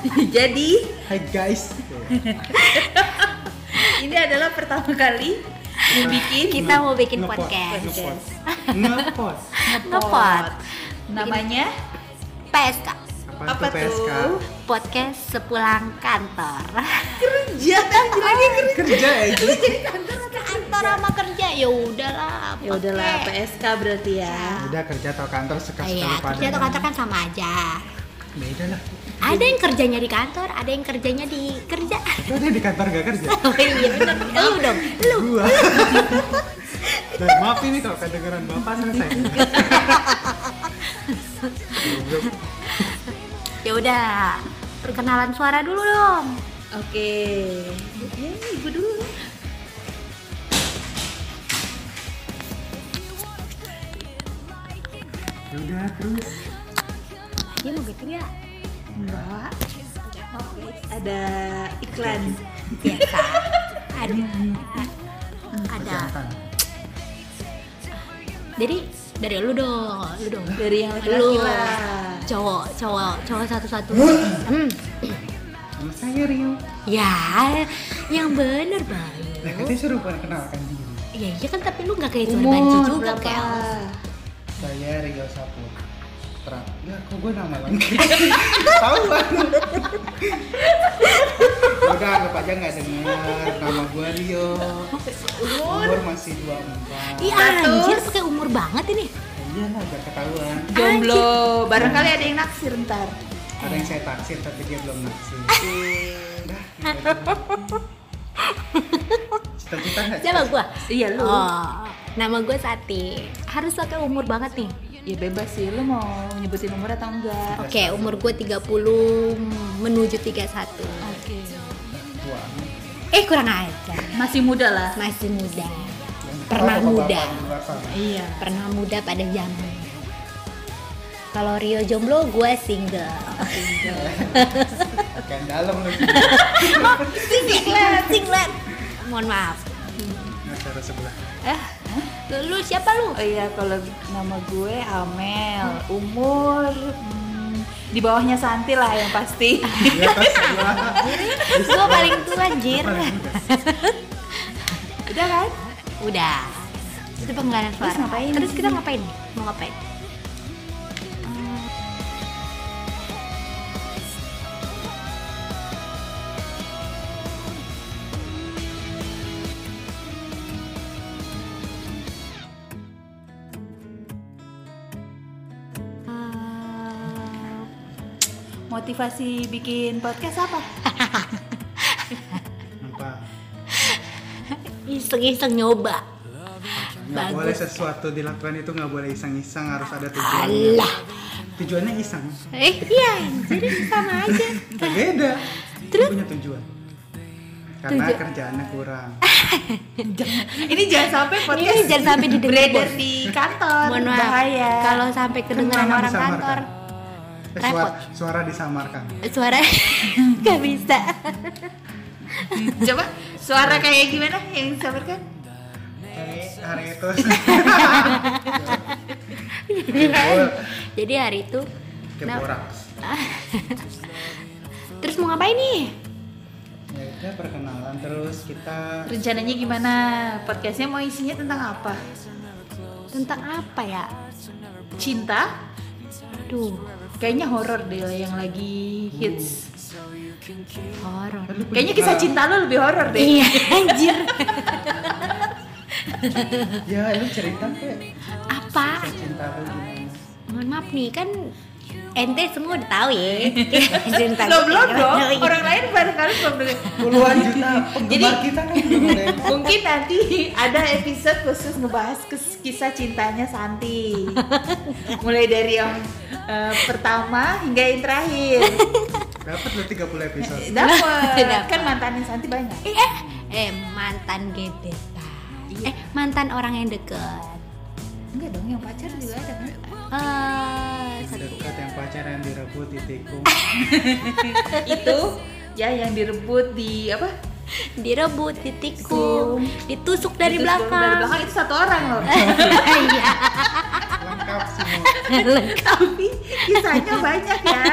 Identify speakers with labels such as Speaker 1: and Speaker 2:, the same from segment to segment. Speaker 1: Jadi
Speaker 2: Hai guys.
Speaker 1: ini adalah pertama kali mau bikin
Speaker 3: Kita mau bikin
Speaker 2: Ngepod.
Speaker 3: podcast.
Speaker 2: Ngepod. Ngepod.
Speaker 3: Ngepot.
Speaker 1: Namanya
Speaker 3: PSK.
Speaker 1: apa
Speaker 2: Apaan tuh PSK?
Speaker 1: tuh?
Speaker 3: Podcast sepulang kantor.
Speaker 1: Kerja anjir lagi kerja.
Speaker 2: Kerja ya. Ji.
Speaker 3: kantor sama kerja ya udahlah.
Speaker 1: Ya udahlah
Speaker 3: pakai.
Speaker 1: PSK berarti ya.
Speaker 2: Udah kerja atau kantor suka suka
Speaker 3: Iya, kerja atau kantor kan sama aja.
Speaker 2: Beda lah.
Speaker 3: Ada yang kerjanya di kantor, ada yang kerjanya di kerja.
Speaker 2: Lu ada di kantor gak kerja?
Speaker 3: Oh iya bener, lu dong, lu.
Speaker 2: Gua. Dan maaf ini kalau kedengeran bapak selesai. Goblok.
Speaker 3: Ya udah, perkenalan suara dulu dong.
Speaker 1: Oke. Ya, gue dulu.
Speaker 2: Ya udah terus.
Speaker 3: Dia mau gitu ya?
Speaker 1: Enggak. Ada iklan.
Speaker 3: Biasa. Ada. Ada.
Speaker 2: Jantan.
Speaker 3: Jadi dari lu dong, lu dong.
Speaker 1: Dari yang
Speaker 3: Lu
Speaker 1: laki-laki lah.
Speaker 3: cowok, cowok, cowok satu-satu. Hmm.
Speaker 2: Sama saya Rio.
Speaker 3: Ya, yang bener bang.
Speaker 2: Nah katanya suruh perkenalkan diri.
Speaker 3: Ya iya kan tapi lu nggak kayak Johnny
Speaker 1: Umur
Speaker 3: Banci juga
Speaker 1: juga
Speaker 3: kayak.
Speaker 2: Saya Rio Saputra. Ya kok gue nama lengkap? Tahu kan? Udah anggap aja nggak dengar nama gue Rio. Umur masih 24.
Speaker 3: Iya anjir pakai umur banget ini.
Speaker 2: Iya lah, udah ketahuan.
Speaker 1: Jomblo. Barangkali ada yang naksir ntar.
Speaker 2: Ada yang saya taksir tapi dia belum naksir. Udah. gitu Cita-cita nggak?
Speaker 3: Siapa gua?
Speaker 1: Iya lu.
Speaker 3: Oh, nama gue Sati. Harus pakai umur banget nih.
Speaker 1: Ya bebas sih lu mau nyebutin umur atau enggak.
Speaker 3: Oke, umur gue 30 menuju 31.
Speaker 1: Oke.
Speaker 2: Wah,
Speaker 3: Eh, kurang aja.
Speaker 1: Masih muda lah.
Speaker 3: Masih muda.
Speaker 2: yang
Speaker 3: Pernah
Speaker 2: ketawa
Speaker 3: muda.
Speaker 2: bapak di luar sana.
Speaker 1: Iya.
Speaker 3: Pernah muda pada zaman. Kalau Rio jomblo, gue single.
Speaker 2: Kayak dalam lu.
Speaker 3: Single, single. Mohon maaf.
Speaker 2: Acara sebelah.
Speaker 3: Eh, lu siapa lu?
Speaker 1: Oh iya, kalau nama gue Amel, umur hmm, di bawahnya Santi lah yang pasti.
Speaker 2: Di atas sebelah.
Speaker 3: gue paling tua anjir.
Speaker 1: Udah kan?
Speaker 3: Udah. Itu pengenalan suara.
Speaker 1: ngapain?
Speaker 3: Terus kita ngapain? Mau ngapain?
Speaker 1: Motivasi bikin podcast apa?
Speaker 2: Nampak.
Speaker 3: Eh, Iseng-iseng nyoba.
Speaker 2: nggak
Speaker 3: Bagus.
Speaker 2: boleh sesuatu dilakukan itu nggak boleh iseng-iseng harus ada tujuannya
Speaker 3: Alah.
Speaker 2: tujuannya iseng
Speaker 3: Eh, iya, jadi sama aja.
Speaker 2: beda
Speaker 3: Terus?
Speaker 2: punya tujuan karena
Speaker 3: Tujuan. Eh,
Speaker 2: kerjaannya kurang
Speaker 1: Ini jangan sampai podcast
Speaker 3: Ini jangan sampai didengar,
Speaker 1: beredar
Speaker 3: Bos.
Speaker 1: di kantor.
Speaker 3: Mohon maaf.
Speaker 1: Bahaya.
Speaker 3: Kalau sampai kedengeran
Speaker 2: Suara
Speaker 3: orang
Speaker 2: disamarkan.
Speaker 3: kantor,
Speaker 2: eh, suara,
Speaker 3: repot.
Speaker 2: suara disamarkan
Speaker 3: suara nggak bisa.
Speaker 1: coba suara kayak gimana yang disampaikan?
Speaker 2: Eh, hari itu
Speaker 1: Iya.
Speaker 3: Jadi hari itu, nah,
Speaker 2: keborak
Speaker 3: terus mau ngapain nih?
Speaker 2: ya itu perkenalan terus kita
Speaker 1: Rencananya gimana? Podcastnya mau isinya tentang apa?
Speaker 3: Tentang apa ya?
Speaker 1: Cinta?
Speaker 3: Aduh,
Speaker 1: Kayaknya horor deh yang lagi hits.
Speaker 3: horor.
Speaker 2: Aduh, Eh, punya-
Speaker 1: Kayaknya kisah cinta lo lebih horor deh.
Speaker 3: Iya, anjir.
Speaker 2: ya lu cerita kayak
Speaker 3: Apa?
Speaker 2: cinta lu gimana
Speaker 3: Mohon maaf nih kan ente semua udah tahu ya. Cinta
Speaker 1: Lo belum
Speaker 3: kita.
Speaker 1: dong, orang lain barangkali belum dengar.
Speaker 2: puluhan juta penggemar
Speaker 1: Jadi-
Speaker 2: kita kan belum ada yang-
Speaker 1: Mungkin nanti ada episode khusus ngebahas kes- kisah cintanya Santi. Mulai dari yang eh, pertama hingga yang terakhir.
Speaker 2: dapat lu 30 episode
Speaker 1: Dapat.
Speaker 3: Dapat.
Speaker 1: kan mantannya Santi banyak.
Speaker 3: Eh, eh, eh, mantan gebetan. Eh,
Speaker 1: Iya.
Speaker 3: mantan orang yang deket.
Speaker 1: Enggak dong, yang pacar juga ada kan?
Speaker 3: Eh, satu.
Speaker 2: dekat yang pacar yang direbut ditikung
Speaker 1: Itu ya yang direbut di apa?
Speaker 3: direbut, ditikung, ditusuk dari
Speaker 1: Ditusuk Dari
Speaker 3: belakang.
Speaker 1: belakang itu satu orang loh.
Speaker 3: Iya,
Speaker 2: lengkap semua
Speaker 3: lengkap.
Speaker 1: Tapi kisahnya banyak ya.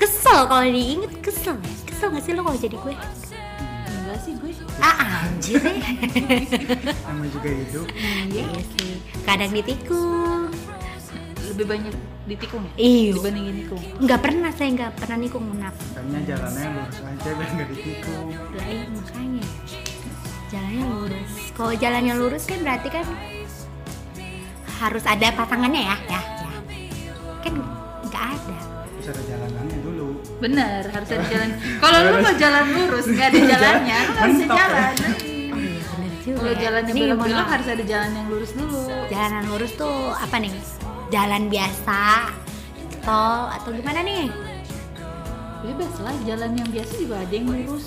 Speaker 3: Kesel kalau diinget kesel. Kesel gak sih lo kalau jadi gue?
Speaker 1: Enggak sih gue.
Speaker 3: Ah anjir.
Speaker 2: Namanya juga hidup.
Speaker 3: Iya sih. Kadang ditikung.
Speaker 1: Lebih banyak ditikung ya?
Speaker 3: Iya.
Speaker 1: Dibandingin nikung.
Speaker 3: Nggak pernah saya nggak pernah nikung menap.
Speaker 2: Makanya jalannya lurus aja biar nggak ditikung.
Speaker 3: Lah iya makanya. Jalannya lurus. Kalau jalannya lurus kan berarti kan harus ada pasangannya ya, ya, ya. Kan nggak ada.
Speaker 2: Terus ada jalanannya dulu.
Speaker 1: Bener, harus ada jalan. Kalau lu mau jalan lurus, nggak ada jalannya, lu nggak bisa
Speaker 2: Mentok ya.
Speaker 1: jalan.
Speaker 3: Oh iya bener juga.
Speaker 1: Kalau
Speaker 3: ya.
Speaker 1: jalan yang
Speaker 3: Ini mohon
Speaker 1: belok-belok
Speaker 3: maaf.
Speaker 1: harus ada jalan yang lurus dulu.
Speaker 3: Jalanan lurus tuh apa nih? Jalan biasa, tol atau gimana nih?
Speaker 1: Bebas lah, jalan yang biasa juga ada yang lurus.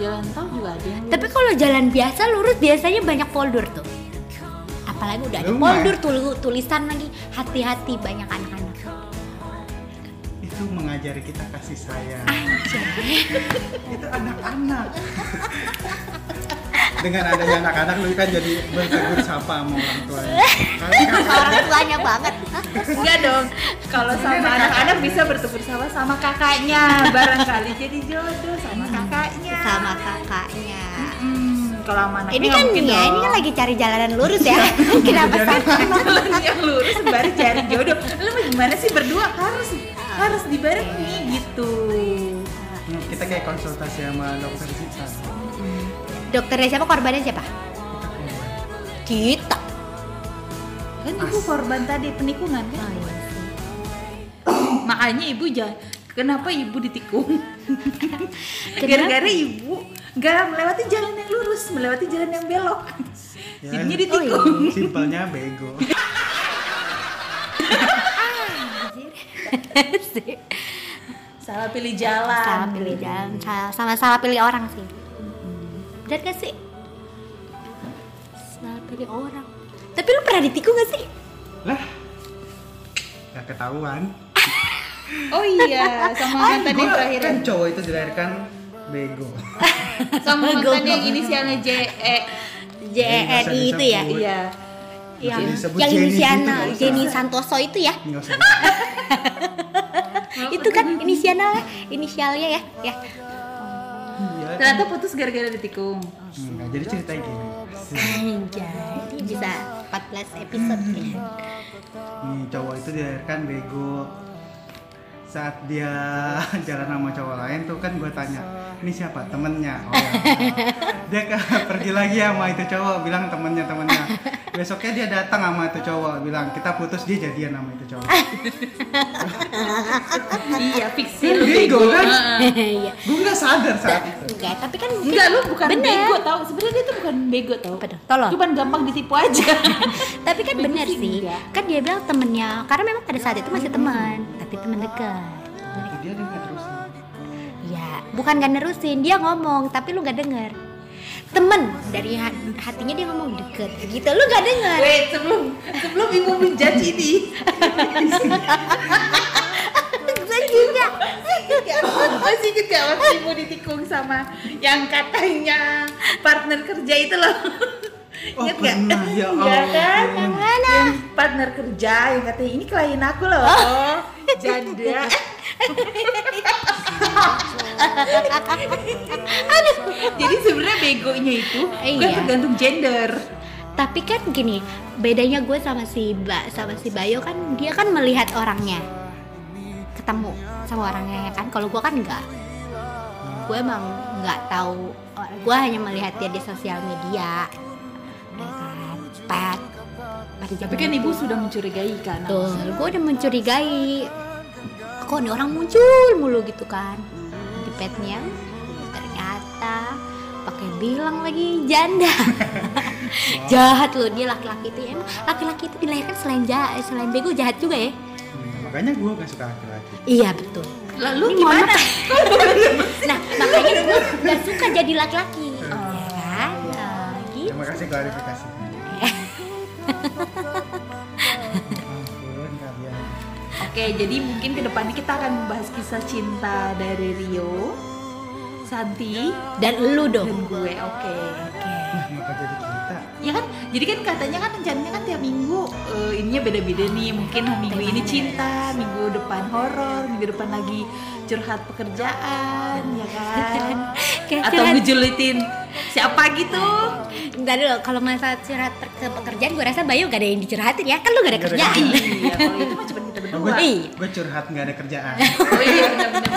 Speaker 1: Jalan tol juga ada yang lurus.
Speaker 3: Tapi kalau jalan biasa lurus biasanya banyak polder tuh. Apalagi udah ada
Speaker 2: Lumayan.
Speaker 3: polder tul- tulisan lagi hati-hati banyak anak-anak.
Speaker 2: Itu mengajari kita kasih sayang.
Speaker 3: Anjay.
Speaker 2: Itu anak-anak. Dengan adanya anak-anak lu kan jadi bertegur sapa sama orang tuanya. Kalian
Speaker 3: Orang tuanya banget.
Speaker 1: Enggak dong. Kalau sama anak-anak bisa bertemu sama sama kakaknya barangkali jadi jodoh sama kakaknya.
Speaker 3: Sama kakaknya.
Speaker 1: Hmm, kalau sama
Speaker 3: Ini
Speaker 1: anaknya Iya. nggak
Speaker 3: kan
Speaker 1: mungkin
Speaker 3: ya, ini
Speaker 1: dong. Iya.
Speaker 3: kan lagi cari jalanan lurus ya. Kenapa sih?
Speaker 1: jalan yang lurus sembari cari jodoh. Lu mau gimana sih berdua harus harus dibarengi gitu.
Speaker 2: Hmm, kita kayak konsultasi sama dokter Zita kita
Speaker 3: Dokternya siapa? Korbannya siapa?
Speaker 2: keluar.
Speaker 3: Kita.
Speaker 1: Kan ibu korban tadi penikungan kan? Ah, Makanya ibu jangan kenapa ibu ditikung? Gara-gara ibu nggak melewati jalan yang lurus, melewati jalan yang belok.
Speaker 2: Ya.
Speaker 3: Oh,
Speaker 2: iya.
Speaker 1: Jadinya ditikung.
Speaker 3: iya.
Speaker 2: simpelnya bego
Speaker 1: Salah pilih jalan.
Speaker 3: Salah pilih jalan, salah- sama salah pilih orang sih. Benar gak sih? Salah pilih orang. Tapi lu pernah ditikung gak sih?
Speaker 2: lah nggak ketahuan
Speaker 1: Oh iya, sama mantan yang
Speaker 2: Gua
Speaker 1: terakhir.
Speaker 2: kan cowok itu dilahirkan bego
Speaker 1: Sama
Speaker 3: Gua-
Speaker 1: mantan yang inisialnya JE.
Speaker 3: JNI
Speaker 2: Nggak usah
Speaker 3: itu ya?
Speaker 1: E.
Speaker 2: disebut.
Speaker 1: Iya.
Speaker 3: Yang,
Speaker 2: Nggak usah disebut
Speaker 3: yang
Speaker 2: Jenny
Speaker 3: inisialnya
Speaker 2: gitu, nggak usah.
Speaker 3: Jenny Santoso itu ya?
Speaker 2: nggak usah disebut.
Speaker 3: Itu kan inisialnya, inisialnya ya? ya.
Speaker 2: iya
Speaker 1: Ternyata putus gara-gara ditikung.
Speaker 2: Nggak, jadi ceritanya gini
Speaker 3: Anjay, bisa 14 episode
Speaker 2: Hmm.
Speaker 3: ya.
Speaker 2: nih cowok itu dilahirkan bego saat dia jalan sama cowok lain tuh kan gue tanya ini siapa temennya oh ya. dia ke- pergi lagi sama itu cowok bilang temennya temennya besoknya dia datang sama itu cowok bilang kita putus dia jadian sama itu cowok
Speaker 1: iya, fiksi
Speaker 2: Kan
Speaker 1: lu
Speaker 2: bego,
Speaker 1: bego.
Speaker 2: kan?
Speaker 1: Heeh.
Speaker 3: Iya.
Speaker 2: gue nggak sadar saat itu
Speaker 3: Enggak, tapi kan mungkin
Speaker 1: Enggak, lu bukan
Speaker 3: Bener.
Speaker 1: bego tau. Sebenarnya dia tuh bukan bego tau.
Speaker 3: Apa dong? Tolong.
Speaker 1: Cuman gampang ditipu aja.
Speaker 3: tapi kan
Speaker 1: Bego
Speaker 3: bener
Speaker 1: sih
Speaker 3: sih
Speaker 1: enggak.
Speaker 3: kan dia bilang temennya karena memang pada saat itu masih teman tapi teman dekat
Speaker 2: Berarti dia dengar terus
Speaker 3: ya bukan gak nerusin dia ngomong tapi lu gak denger temen dari ha- hatinya dia ngomong deket gitu lu gak denger
Speaker 1: Wait, sebelum sebelum ibu menjudge ini,
Speaker 3: Gua juga
Speaker 2: Iya,
Speaker 1: ya, masih inget gak waktu ibu ditikung sama yang katanya partner kerja itu loh?
Speaker 2: Oh,
Speaker 1: Ingat gak?
Speaker 2: pernah, ya
Speaker 1: Iya
Speaker 2: ampun.
Speaker 1: kan?
Speaker 3: yang mana
Speaker 1: Yang partner kerja yang katanya ini klien aku loh.
Speaker 3: Oh.
Speaker 1: Janda.
Speaker 3: Aduh.
Speaker 1: Jadi sebenarnya begonya itu bukan
Speaker 3: Iya.
Speaker 1: tergantung gender.
Speaker 3: tapi kan gini bedanya gue sama si ba sama si Bayo kan dia kan melihat orangnya ketemu sama orangnya ya kan kalau gue kan enggak gue emang nggak tahu or- gue hanya melihat dia di sosial media ya kan pet pada
Speaker 1: Tapi
Speaker 3: zaman
Speaker 1: kan ibu
Speaker 3: itu.
Speaker 1: sudah mencurigai kan.
Speaker 3: Betul, gue udah mencurigai Kok nih orang muncul mulu gitu kan Di petnya Ternyata pakai bilang lagi janda Jahat loh dia laki-laki itu ya Emang laki-laki itu dilahirkan selain jahat Selain bego jahat juga ya
Speaker 2: Hmm, makanya gue gak suka laki-laki
Speaker 3: Iya betul
Speaker 1: Lalu
Speaker 3: Ini mohon
Speaker 1: gimana?
Speaker 3: Nah makanya gue gak suka jadi laki-laki
Speaker 1: Oh.
Speaker 3: Ya kan Nah, gitu.
Speaker 2: terima kasih klarifikasi ampun kalian
Speaker 1: Oke, jadi mungkin kedepannya kita akan membahas kisah cinta dari Rio, Santi,
Speaker 3: Dan lu
Speaker 1: dan
Speaker 3: dong
Speaker 1: gue. Oke.
Speaker 3: Oke
Speaker 2: kenapa jadi cerita
Speaker 1: ya kan jadi kan katanya kan rencananya kan tiap minggu eh, ininya beda-beda nih mungkin minggu ini cinta minggu depan horor minggu depan lagi curhat pekerjaan ya kan
Speaker 3: Kayak
Speaker 1: atau
Speaker 3: Ya, curhat-
Speaker 1: ngejulitin siapa gitu
Speaker 3: Ntar dulu, kalau masalah curhat per- ke pekerjaan gue rasa Bayu gak ada yang dicurhatin ya Kan lu gak ada
Speaker 2: Gak ada
Speaker 3: kerjaan
Speaker 1: iya kalau itu mah cuma kita berdua
Speaker 3: Iya.
Speaker 2: gue curhat nggak ada kerjaan
Speaker 1: Oh iya benar-benar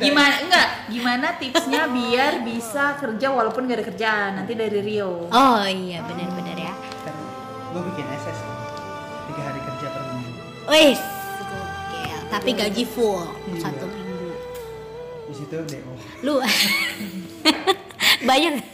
Speaker 1: Gimana enggak? Gimana tipsnya biar bisa kerja walaupun gak ada kerjaan? Nanti dari Rio.
Speaker 3: Oh iya benar-benar ya
Speaker 2: gue bikin SS tiga hari kerja per minggu
Speaker 3: Wis gokil. Tapi gaji full
Speaker 2: Iya.
Speaker 3: Satu minggu
Speaker 2: di situ DO
Speaker 3: Lu Bayar